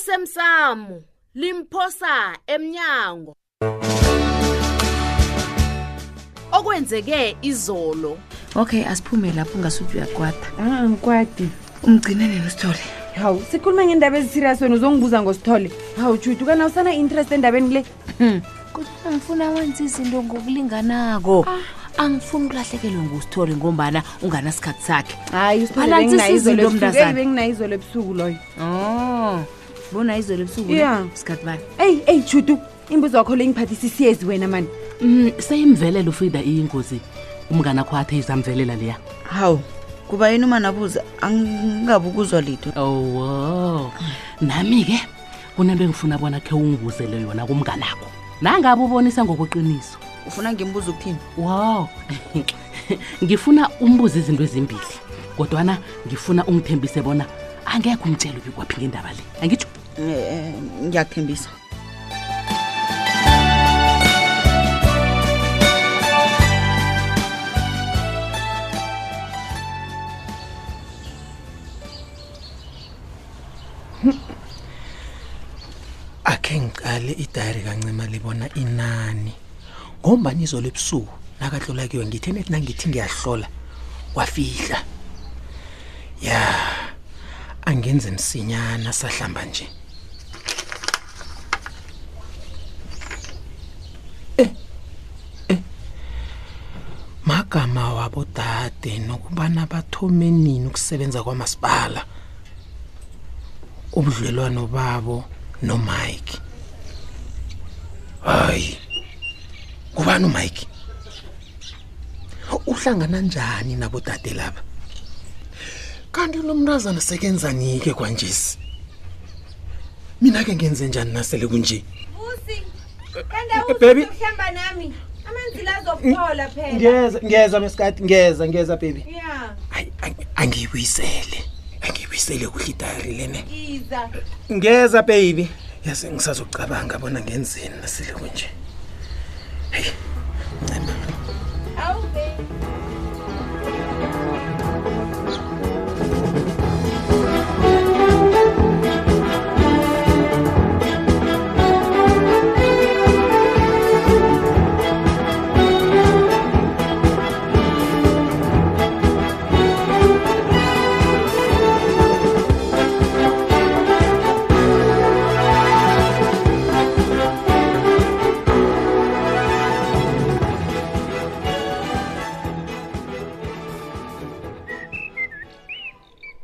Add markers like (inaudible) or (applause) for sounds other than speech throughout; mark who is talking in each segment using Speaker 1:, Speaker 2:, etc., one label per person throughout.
Speaker 1: lasemsamo limphosa emnyango okwenzeke izolo
Speaker 2: okay asiphume lapho ngasuthi uyagwada
Speaker 3: Ah, ngikwadi
Speaker 2: umgcine nini usithole
Speaker 3: hawu sikhuluma ngendaba ezisirias wena uzongibuza ngosithole hawu juti kana usana-interest endabeni le
Speaker 2: kodwana ngifuna wenza izinto ngokulinganako angifuni ukulahlekelwe ngusithole ngombana unganasikhathi sakhe
Speaker 3: hayi
Speaker 2: Phela ngisizwe lo mntazana.
Speaker 3: benginayizolo ebusuku loyo
Speaker 2: o Oh, bona izolo ebusuku le?
Speaker 3: Yeah.
Speaker 2: sikhathi bani
Speaker 3: eyi eyi jutu imbuzo wakho le ingiphathisa isiyezi wena mani
Speaker 4: Mm, seyimvelelo frida iyingozi umngane akho athe izamvelela leya
Speaker 5: hawu kuba yini umanabuza angingabi ukuzwa litho
Speaker 4: owo Oh, nami-ke kunento engifuna bona khe ungibuzele yona kumnganakho nangabe ubonisa ngokweqiniso
Speaker 5: ufuna ngimbuza ukuthini
Speaker 4: wow (laughs) ngifuna umbuze izinto ezimbili kodwana ngifuna ungithembise bona angekho umtshelo bikwaphi ngendaba le angitsho
Speaker 5: Eh, ngiyakuthembisa
Speaker 6: akhe ngiqale idayari kancima libona inani ngombani izolo ebusuku nakahlola kiwe ngithe nethi nangithi ngiyahlola wafihla ya angenze msinyana sahlamba nje eh eh, magama wabodade nokubana bathome nini ukusebenza kwamasipala ubudlelwano babo nomike hayi kubani umike uhlangana njani nabodade laba kanti lo mntazana sekenzani-ke kwanjesi mina-ke ngenze njani nasele kunje Eh, bebi
Speaker 3: uhlamba nami amanzi lazophola phela
Speaker 6: Mm, ngeza ngeza mesikati ngeza ngeza bebi
Speaker 3: ya
Speaker 6: hayi ang- angiyibuyisele angiyibuyisele kuhle idayari lene
Speaker 3: iza
Speaker 6: ngeza baby yase ngisazokucabanga bona ngenzeni nasile kunje heyi ncema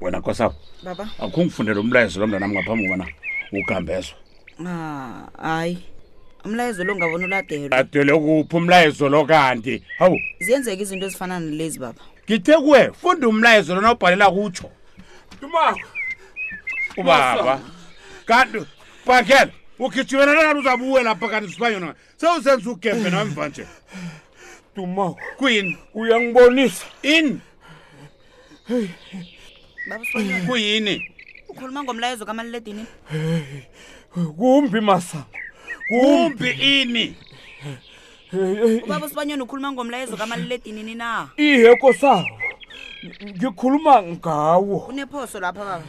Speaker 7: wena kosabo
Speaker 5: baba
Speaker 7: akungifundela umlayezo lo mntanami ngaphambi kobana ugambezwa
Speaker 5: Ah, hayi umlayezo lo ngabona uladelwa
Speaker 7: adele kuphi umlayezo lo kanti hawu
Speaker 5: ziyenzeka izinto ezifana nalezi baba
Speaker 7: ngithe kuwe funda umlayezo lona obhalela kutsho ubaba kanti bhakela ugijimela nanani uzabuwe lapha kanti sibanyona sewusenza ugembe namva nje
Speaker 8: dumawo
Speaker 7: kuyini
Speaker 8: uyangibonisa
Speaker 7: ini
Speaker 5: baba Sibanyoni,
Speaker 7: kuyini
Speaker 5: ukhuluma ngomlayezo kamaliledini
Speaker 8: kumbi masango
Speaker 7: kumbi ini
Speaker 5: ubaba usibanyoni ukhuluma ngomlayezo kamaliledini nina
Speaker 8: iheko sawo ngikhuluma ngawo
Speaker 5: kunephoso lapha baba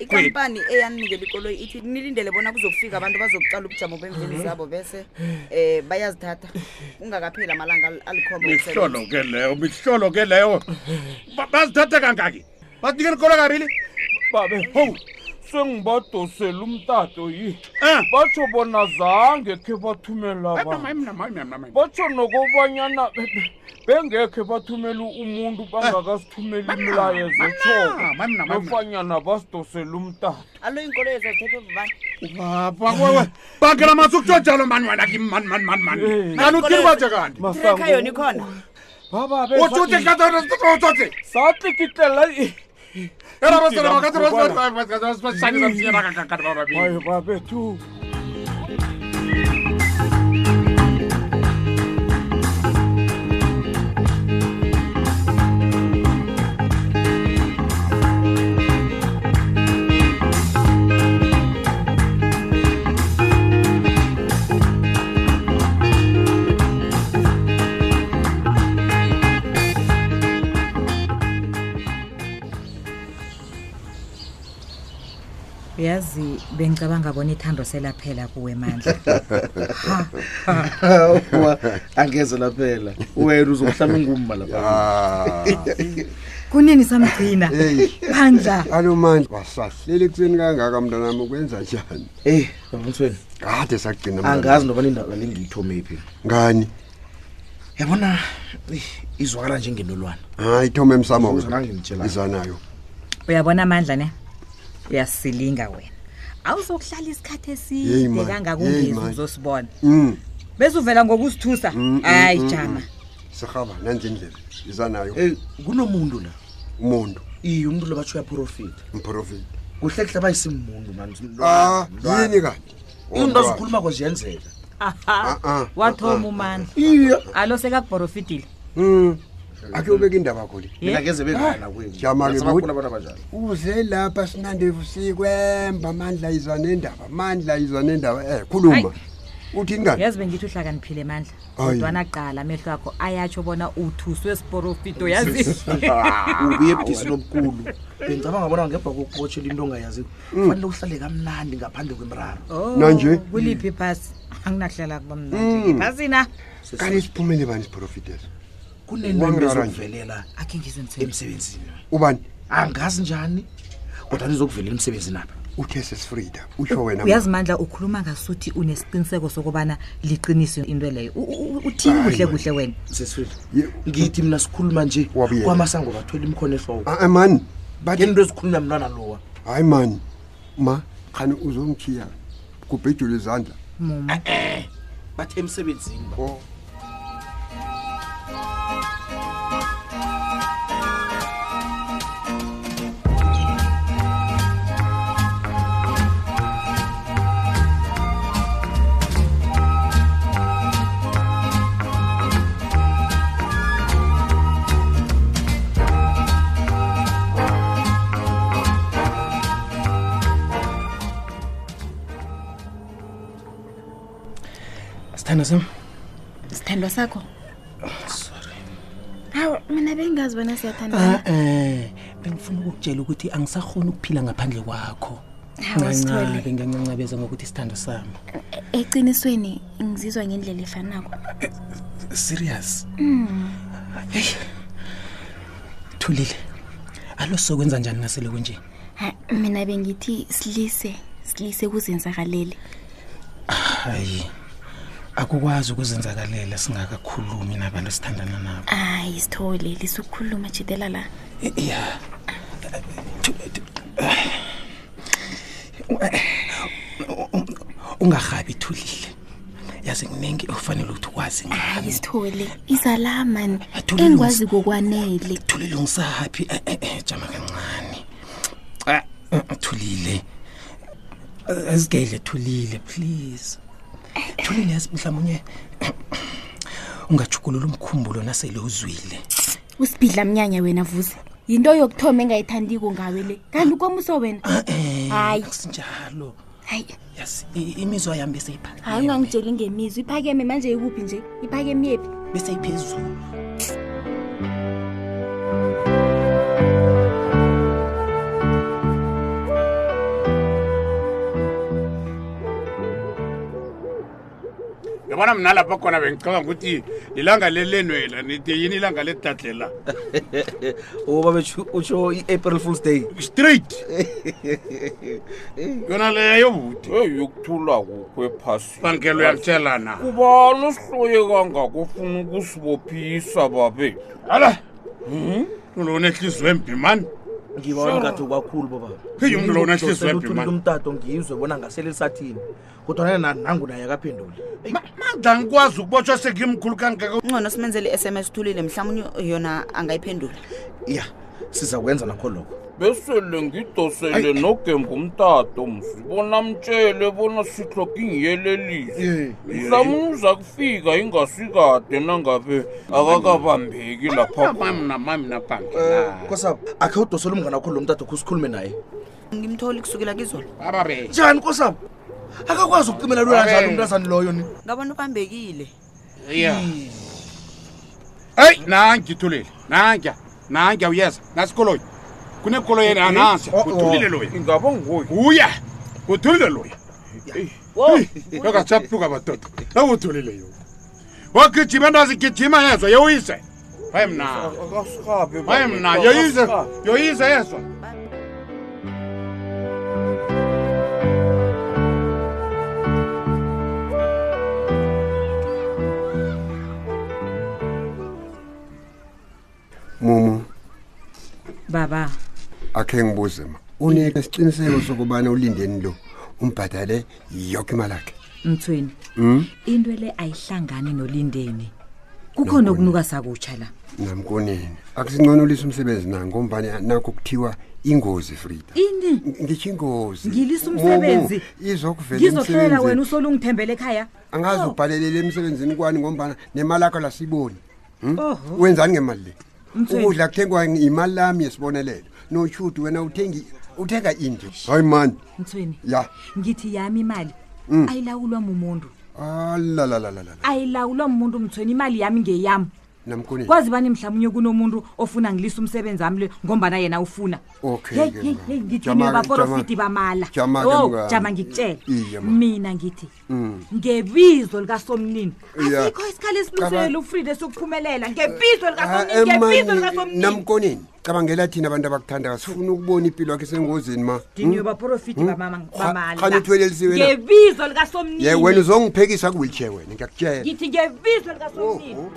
Speaker 5: ikampani eyanikela ikoloyi ithi nilindele bona kuzokufika abantu bazokucala ubujamo bemveni zabo bese um bayazithatha kungakapheli amalanga al- alikhomba
Speaker 7: mihlolo ke leyo mihlolo ke leyo Ba- bazithatha kangaki bazinikela ikolo kabili
Speaker 8: babe hawu sengibadosela umtato yi
Speaker 7: Eh.
Speaker 8: batsho bona zange khe bathumela
Speaker 7: Mama,
Speaker 8: ba
Speaker 7: mama, mama, mama.
Speaker 8: batsho nokobanyana be- be- bengekhe bathumela umuntu bangakasithumeli imlayezo
Speaker 7: mamna, mamna,
Speaker 8: tshoko
Speaker 7: mamna.
Speaker 8: nofanyana basidosela umtato
Speaker 5: alo iinkoloyi zazithethwa bubani
Speaker 7: Ubaba wewe bakela masuku tsonjalo mani wena kim mani mani mani mani
Speaker 8: Eh.
Speaker 7: mani uthini manje kanti
Speaker 5: Tracker yona ikhona
Speaker 7: utshuthi katsotsotse
Speaker 8: satlikitlela
Speaker 7: era
Speaker 8: Ngokwala.
Speaker 7: basebakatbashanizamsiyenakakakatbababili
Speaker 8: baye babethu
Speaker 3: uyazi
Speaker 9: bengicabanga bona ithando selaphela kuwe mandla
Speaker 10: (laughs)
Speaker 11: Awa, angeze laphela wena uzokuhlala ungumma
Speaker 10: Ah.
Speaker 11: lapha
Speaker 9: kunini samgcina mandla
Speaker 10: alo manje wasahleli ekuseni kangaka mntanami ukwenza njani
Speaker 11: eyi bamthweni
Speaker 10: kade sagcina mntwana.
Speaker 11: angazi noba nindaba lengiyithomephi
Speaker 10: ngani
Speaker 11: yabona eyi, izwakala njengenolwana
Speaker 10: hayi thoma
Speaker 11: Uza nangingitshela.
Speaker 10: emsamoizanayo
Speaker 9: uyabona mandla ne uyasilinga wena awuzokuhlala isikhathi
Speaker 10: Yeyi,
Speaker 9: eside
Speaker 10: mandla, yeyi,
Speaker 9: kangakungezi
Speaker 10: mandla.
Speaker 9: uzosibona
Speaker 10: um
Speaker 9: bezuvela ngokusithusa hayi jama
Speaker 10: sirhaba nanzi indlela izanayo
Speaker 11: eyi kunomuntu la
Speaker 10: umuntu
Speaker 11: iye umntu lo batsho uyaprofitha
Speaker 10: mprofiti
Speaker 11: kuhle kuhle bayisimmuntu mani
Speaker 10: Ah, yini kanti
Speaker 11: into azikhulumako ziyenzeka
Speaker 10: Ah, ah,
Speaker 9: wathoma umandla
Speaker 11: iye
Speaker 9: alo sekakubhorofitile
Speaker 10: um akuyobeka indaba yakho le
Speaker 11: mina ngeze bengana kwenu
Speaker 10: Jama-ke,
Speaker 11: Sabakhula
Speaker 10: bud.
Speaker 11: abantu abanjani
Speaker 10: uze lapha sinandevu sikwemba mandla iza nendaba mandla iza nendaba eh khuluma uthini kani
Speaker 9: yazi bengithi uhlakaniphile mandla
Speaker 10: Ayi.
Speaker 9: kodwana qala amehlo akho ayatsho bona uthuswe siporofito yazi
Speaker 11: ubuye ebudisini obukhulu bengicabanga bona ngemva kokubotshela into ongayaziyo fanele uhlale kamnandi ngaphandle kwemraro
Speaker 9: Oh,
Speaker 10: Nanje?
Speaker 9: kuliphi iphasi anginakuhlala kuba mnaphasina
Speaker 10: kanti siphumele bani isiprofitesa
Speaker 11: kunento
Speaker 10: Wangirara nje.
Speaker 11: ezokuvelela
Speaker 9: akhe ngizwe mthweni
Speaker 11: emsebenzini
Speaker 10: ubani
Speaker 11: angazi njani kodwa nizokuvela emsebenzini apha
Speaker 10: uthe sesifrida usho wena
Speaker 9: uyazi mandla ukhuluma ngasuthi unesiqiniseko sokubana liqinise into leyo U- u- u- uthini kuhle kuhle wena
Speaker 11: sesifile
Speaker 10: Ye-
Speaker 11: ngithi mina sikhuluma nje
Speaker 10: Wabuyela.
Speaker 11: kwamasango bathwela imikhono ehloko
Speaker 10: Ah, ah, mani bathi
Speaker 11: ngento ezikhulunywa mntwana lowa
Speaker 10: hayi mani ma khani uzongithiya kubhejule izandla
Speaker 6: Eh,
Speaker 11: bathe emsebenzini ba.
Speaker 10: oh.
Speaker 6: sithanda sam
Speaker 12: sithandwa sakho hawu mina bengazi bona siyathandana
Speaker 6: a-e Ah, eh, bengifuna ukukutshela ukuthi angisakhoni ukuphila ngaphandle kwakho
Speaker 12: Hawu, Sithole.
Speaker 6: Ncancabe, ngiyancancabeza ngokuthi isithando sami
Speaker 12: eqinisweni ngizizwa ngendlela efanako
Speaker 6: serious heyi thulile alo sokwenza njani nasele kunje
Speaker 12: Ha, mina bengithi silise silise kuzenzakalele
Speaker 6: hayi akukwazi ukuzenzakalela singakakhulumi nabantu esithandana nabo
Speaker 12: hayi sithole lisukukhuluma jidela la
Speaker 6: ya ungarhabi thulile yazi kuningi okufanele ukuthi ukwazi
Speaker 12: hayi
Speaker 6: ngami
Speaker 12: sithole izalamani
Speaker 6: Athulile
Speaker 12: engikwazi kokwanele
Speaker 6: thulile ungisaphi Eh, eh, eh, jama kancane Ah, eh, thulile Eh, asigedle thulile please thulile yazi mhlawumunye ungajugulula umkhumbulo nasele uzwile
Speaker 12: usibhidla mnyanya wena vuze yinto yokuthoma engayithandiko ngawe le kanti komuso wena
Speaker 6: Eh,
Speaker 12: Hayi.
Speaker 6: akusinjalo
Speaker 12: hayi
Speaker 6: yazi i- imizwa yami beseyipha
Speaker 12: hayi ungangitsheli ngemizwa iphakeme manje ikuphi nje iphakeme yephi
Speaker 6: beseyiphezulu
Speaker 7: yabona mna lapha khona bengicabanga ukuthi lilanga lelenwela nithi yini ilanga letadlela
Speaker 11: oba bethu Oh, utsho i-april fools day (laughs)
Speaker 7: straight yona leyo buti
Speaker 8: eyokuthula kukho ephasini
Speaker 7: bangelo uyamtshela na
Speaker 8: kubalo sihloye kangako ufuna ukusibophisa babethu
Speaker 7: ala
Speaker 11: Mhm.
Speaker 7: umntu lo unehliziyo embi mani
Speaker 11: ngibawona ngathi kwakhulu baba
Speaker 7: Hey, umuntu lo unehlizwe ebhi, man.
Speaker 11: umtato ngizwe bona ngasele lisathini kodwana nangu naye akaphenduli
Speaker 7: mandla ngikwazi ukubotshwa sengimkhulu kangaka
Speaker 5: ngcono simenzele i-sms thulile mhlawumbe yona angayiphendula
Speaker 11: ya sizakwenza nakho lokho
Speaker 8: besele ngidosele nogemba umtato msibona mtshele bona sihloga ingiyelelisi mhlamunye uza kufika ingasikade nangabe akakabambeki
Speaker 11: Oh.
Speaker 8: lapha
Speaker 7: mami namami nabangelaa
Speaker 11: Eh, kosab akhe udosele umngane wakho lo mtato kho sikhulume naye
Speaker 5: ngimtholi kusukela kizolo
Speaker 7: bababe
Speaker 11: njani kosab akakwazi ukucimela lula
Speaker 7: Abe.
Speaker 11: njalo umntazane loyo ni
Speaker 5: ngabona ubambekile
Speaker 7: ya eyi nanki ithulile nankiya nankiya uyeza nasikoloyi kunekoloyi yena nansiya
Speaker 11: Eh, Oh, oh.
Speaker 7: uthulile loya
Speaker 8: ingaba ngoyi
Speaker 7: uya uthulile loya yakachaphuka madoda nakuthulile yo wagijima into azigijima yezwa yoyise hayi mna hayi
Speaker 8: 어,
Speaker 7: mna yoyise yoyise yezwa
Speaker 10: mumu
Speaker 9: baba
Speaker 10: akhe ngibuze ma unike isiqiniseko sokubana ulindeni lo umbhadale yoke imali yakhe
Speaker 9: mthweni
Speaker 10: Mm?
Speaker 9: into le ayihlangani nolindeni kukhona okunuka sakutsha la
Speaker 10: namkoneni akusinconolisa umsebenzi na ngombani nakho kuthiwa ingozi frida
Speaker 9: ini
Speaker 10: ngitsho ingozi
Speaker 9: ngilisa umsebenzi
Speaker 10: Mumu, izokuvela
Speaker 9: ngizohlelela
Speaker 10: imisebenzi.
Speaker 9: wena usole ungithembele ekhaya
Speaker 10: angazi
Speaker 9: Oh.
Speaker 10: ukubhalelela emsebenzini kwani ngombana nemali akho lasiyiboni Hmm?
Speaker 9: Oho.
Speaker 10: wenzani ngemali le
Speaker 9: Mthweni.
Speaker 10: ukudla kuthengwa imali lami yesibonelelo noshuti wena uthengi uthenga inje hayi mani
Speaker 9: mthweni
Speaker 10: ya
Speaker 9: ngithi yami imali
Speaker 10: Mm.
Speaker 9: ayilawulwa mumuntu
Speaker 10: alalalalala
Speaker 9: ayilawulwa mumuntu mthweni imali yami ngeyami
Speaker 10: namkoneni
Speaker 9: kwazi bani mhlawumunye kunomuntu ofuna ngilisa umsebenzi wami le ngombana yena ufuna
Speaker 10: Okay
Speaker 9: Hey,
Speaker 10: ke
Speaker 9: hey,
Speaker 10: ma.
Speaker 9: hey, ngithi
Speaker 10: Jama-ke,
Speaker 9: niyobaprofiti
Speaker 10: jama-
Speaker 9: bamala
Speaker 10: jama-ke
Speaker 9: Oh,
Speaker 10: mngani.
Speaker 9: jama ngikutshele
Speaker 10: Iye, ma.
Speaker 9: mina ngithi
Speaker 10: Mm.
Speaker 9: ngebizo likasomnini
Speaker 10: Ya.
Speaker 9: asikho isikhala esibuselela
Speaker 10: Cabanga-
Speaker 9: ufrida sokuphumelela ngebizo
Speaker 10: Ah,
Speaker 9: likasomnini ngebizo
Speaker 10: emani,
Speaker 9: likasomnini
Speaker 10: namkoneni cabangela thina abantu abakuthandayo sifuna ukubona impilo yakhe sengozini ma
Speaker 9: ndiniyobaprofiti
Speaker 10: Hmm?
Speaker 9: bamala
Speaker 10: Khani uthwelelisiwe na?
Speaker 9: ngebizo
Speaker 10: ye wena
Speaker 9: likasomnini
Speaker 10: uzongiphekisa kuwheelchair wena ngiyakutshela
Speaker 9: ngithi ngebizo likasomnini
Speaker 10: Oh,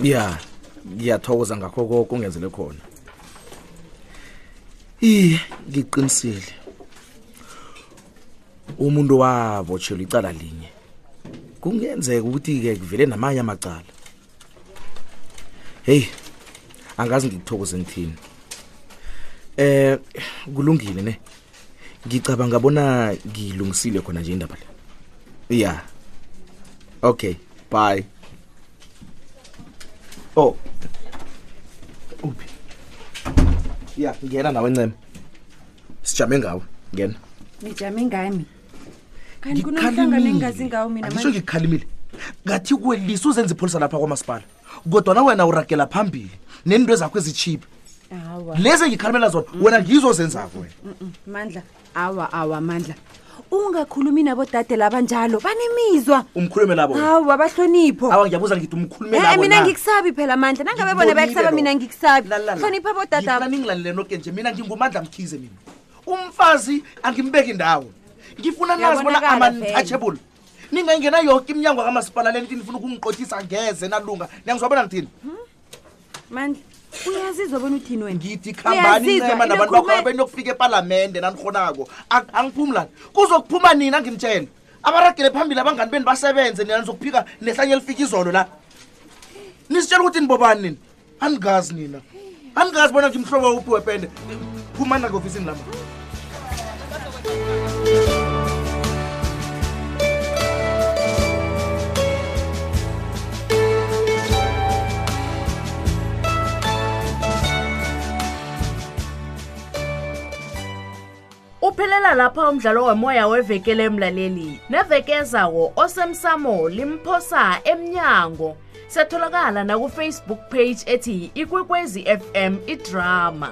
Speaker 6: ya ngiyathokoza ngakho koko ungenzele khona iye ngiqinisile umuntu wabotshelwa icala linye kungenzeka ukuthi-ke kuvele namanye amacala heyi angazi ngikuthokoze ngithini eh kulungile ne ngicabanga bona ngilungisile khona nje indaba le ya okay bye oh uphi ya ngena nawe ncema sijame ngawe ngena
Speaker 12: nijame ngami kanti kunomhlangano engingazi ngawo mina
Speaker 6: angisho ngikhalimile ngathi kwelisa uzenza ipholisa lapha kwamasipala kodwana wena uragela phambili nento zakho ezichiphe
Speaker 12: awa
Speaker 6: lezi engikhalimela zona wena ngizozenzako wena
Speaker 12: Mm-mm, mandla awa awa mandla ungakhulumi nabodade labanjalo banemizwa
Speaker 6: umkhulume labo wena.
Speaker 12: awa bahlonipho
Speaker 6: awa ngiyabuza ngithi umkhulume
Speaker 12: Eh,
Speaker 6: labo
Speaker 12: mina
Speaker 6: na?
Speaker 12: ngikusabi phela mandla nangabe bona
Speaker 6: Ngikubonile
Speaker 12: bayakusaba
Speaker 6: lokho.
Speaker 12: mina ngikusabi
Speaker 6: Lalala.
Speaker 12: hlonipha abodadaba
Speaker 6: ngilaningilalile noke nje mina ngingumandla mkhize mina umfazi angimbeki ndawo ngifuna nazi bona
Speaker 12: Uyabonakala
Speaker 6: ama-untouchable ningayingena yoke iminyango kamasipala le nithi nifuna ukungiqothisa ngeze nalunga niyangizwa bona ngithini
Speaker 12: mandla uyazizwa bona uthini wena
Speaker 6: ngithi khambani ncema nabantu bakhona beniyokufika epalamende nanihonako angiphumulani kuzokuphuma nina ngimtshele abaragele phambili abangani beni basebenze nina nizokuphika nehlanye elifika izolo la nisitshela ukuthi nibobani nina anigazi nina anigazi bona ngimhlobo uphi wepende phumani nangeofisini lama
Speaker 13: uphelela lapha umdlalo wemoya wevekele emlaleli nevekezawo osemsamo limphosa emnyango setholakala nakufacebook page ethi ikwekwezi fm idrama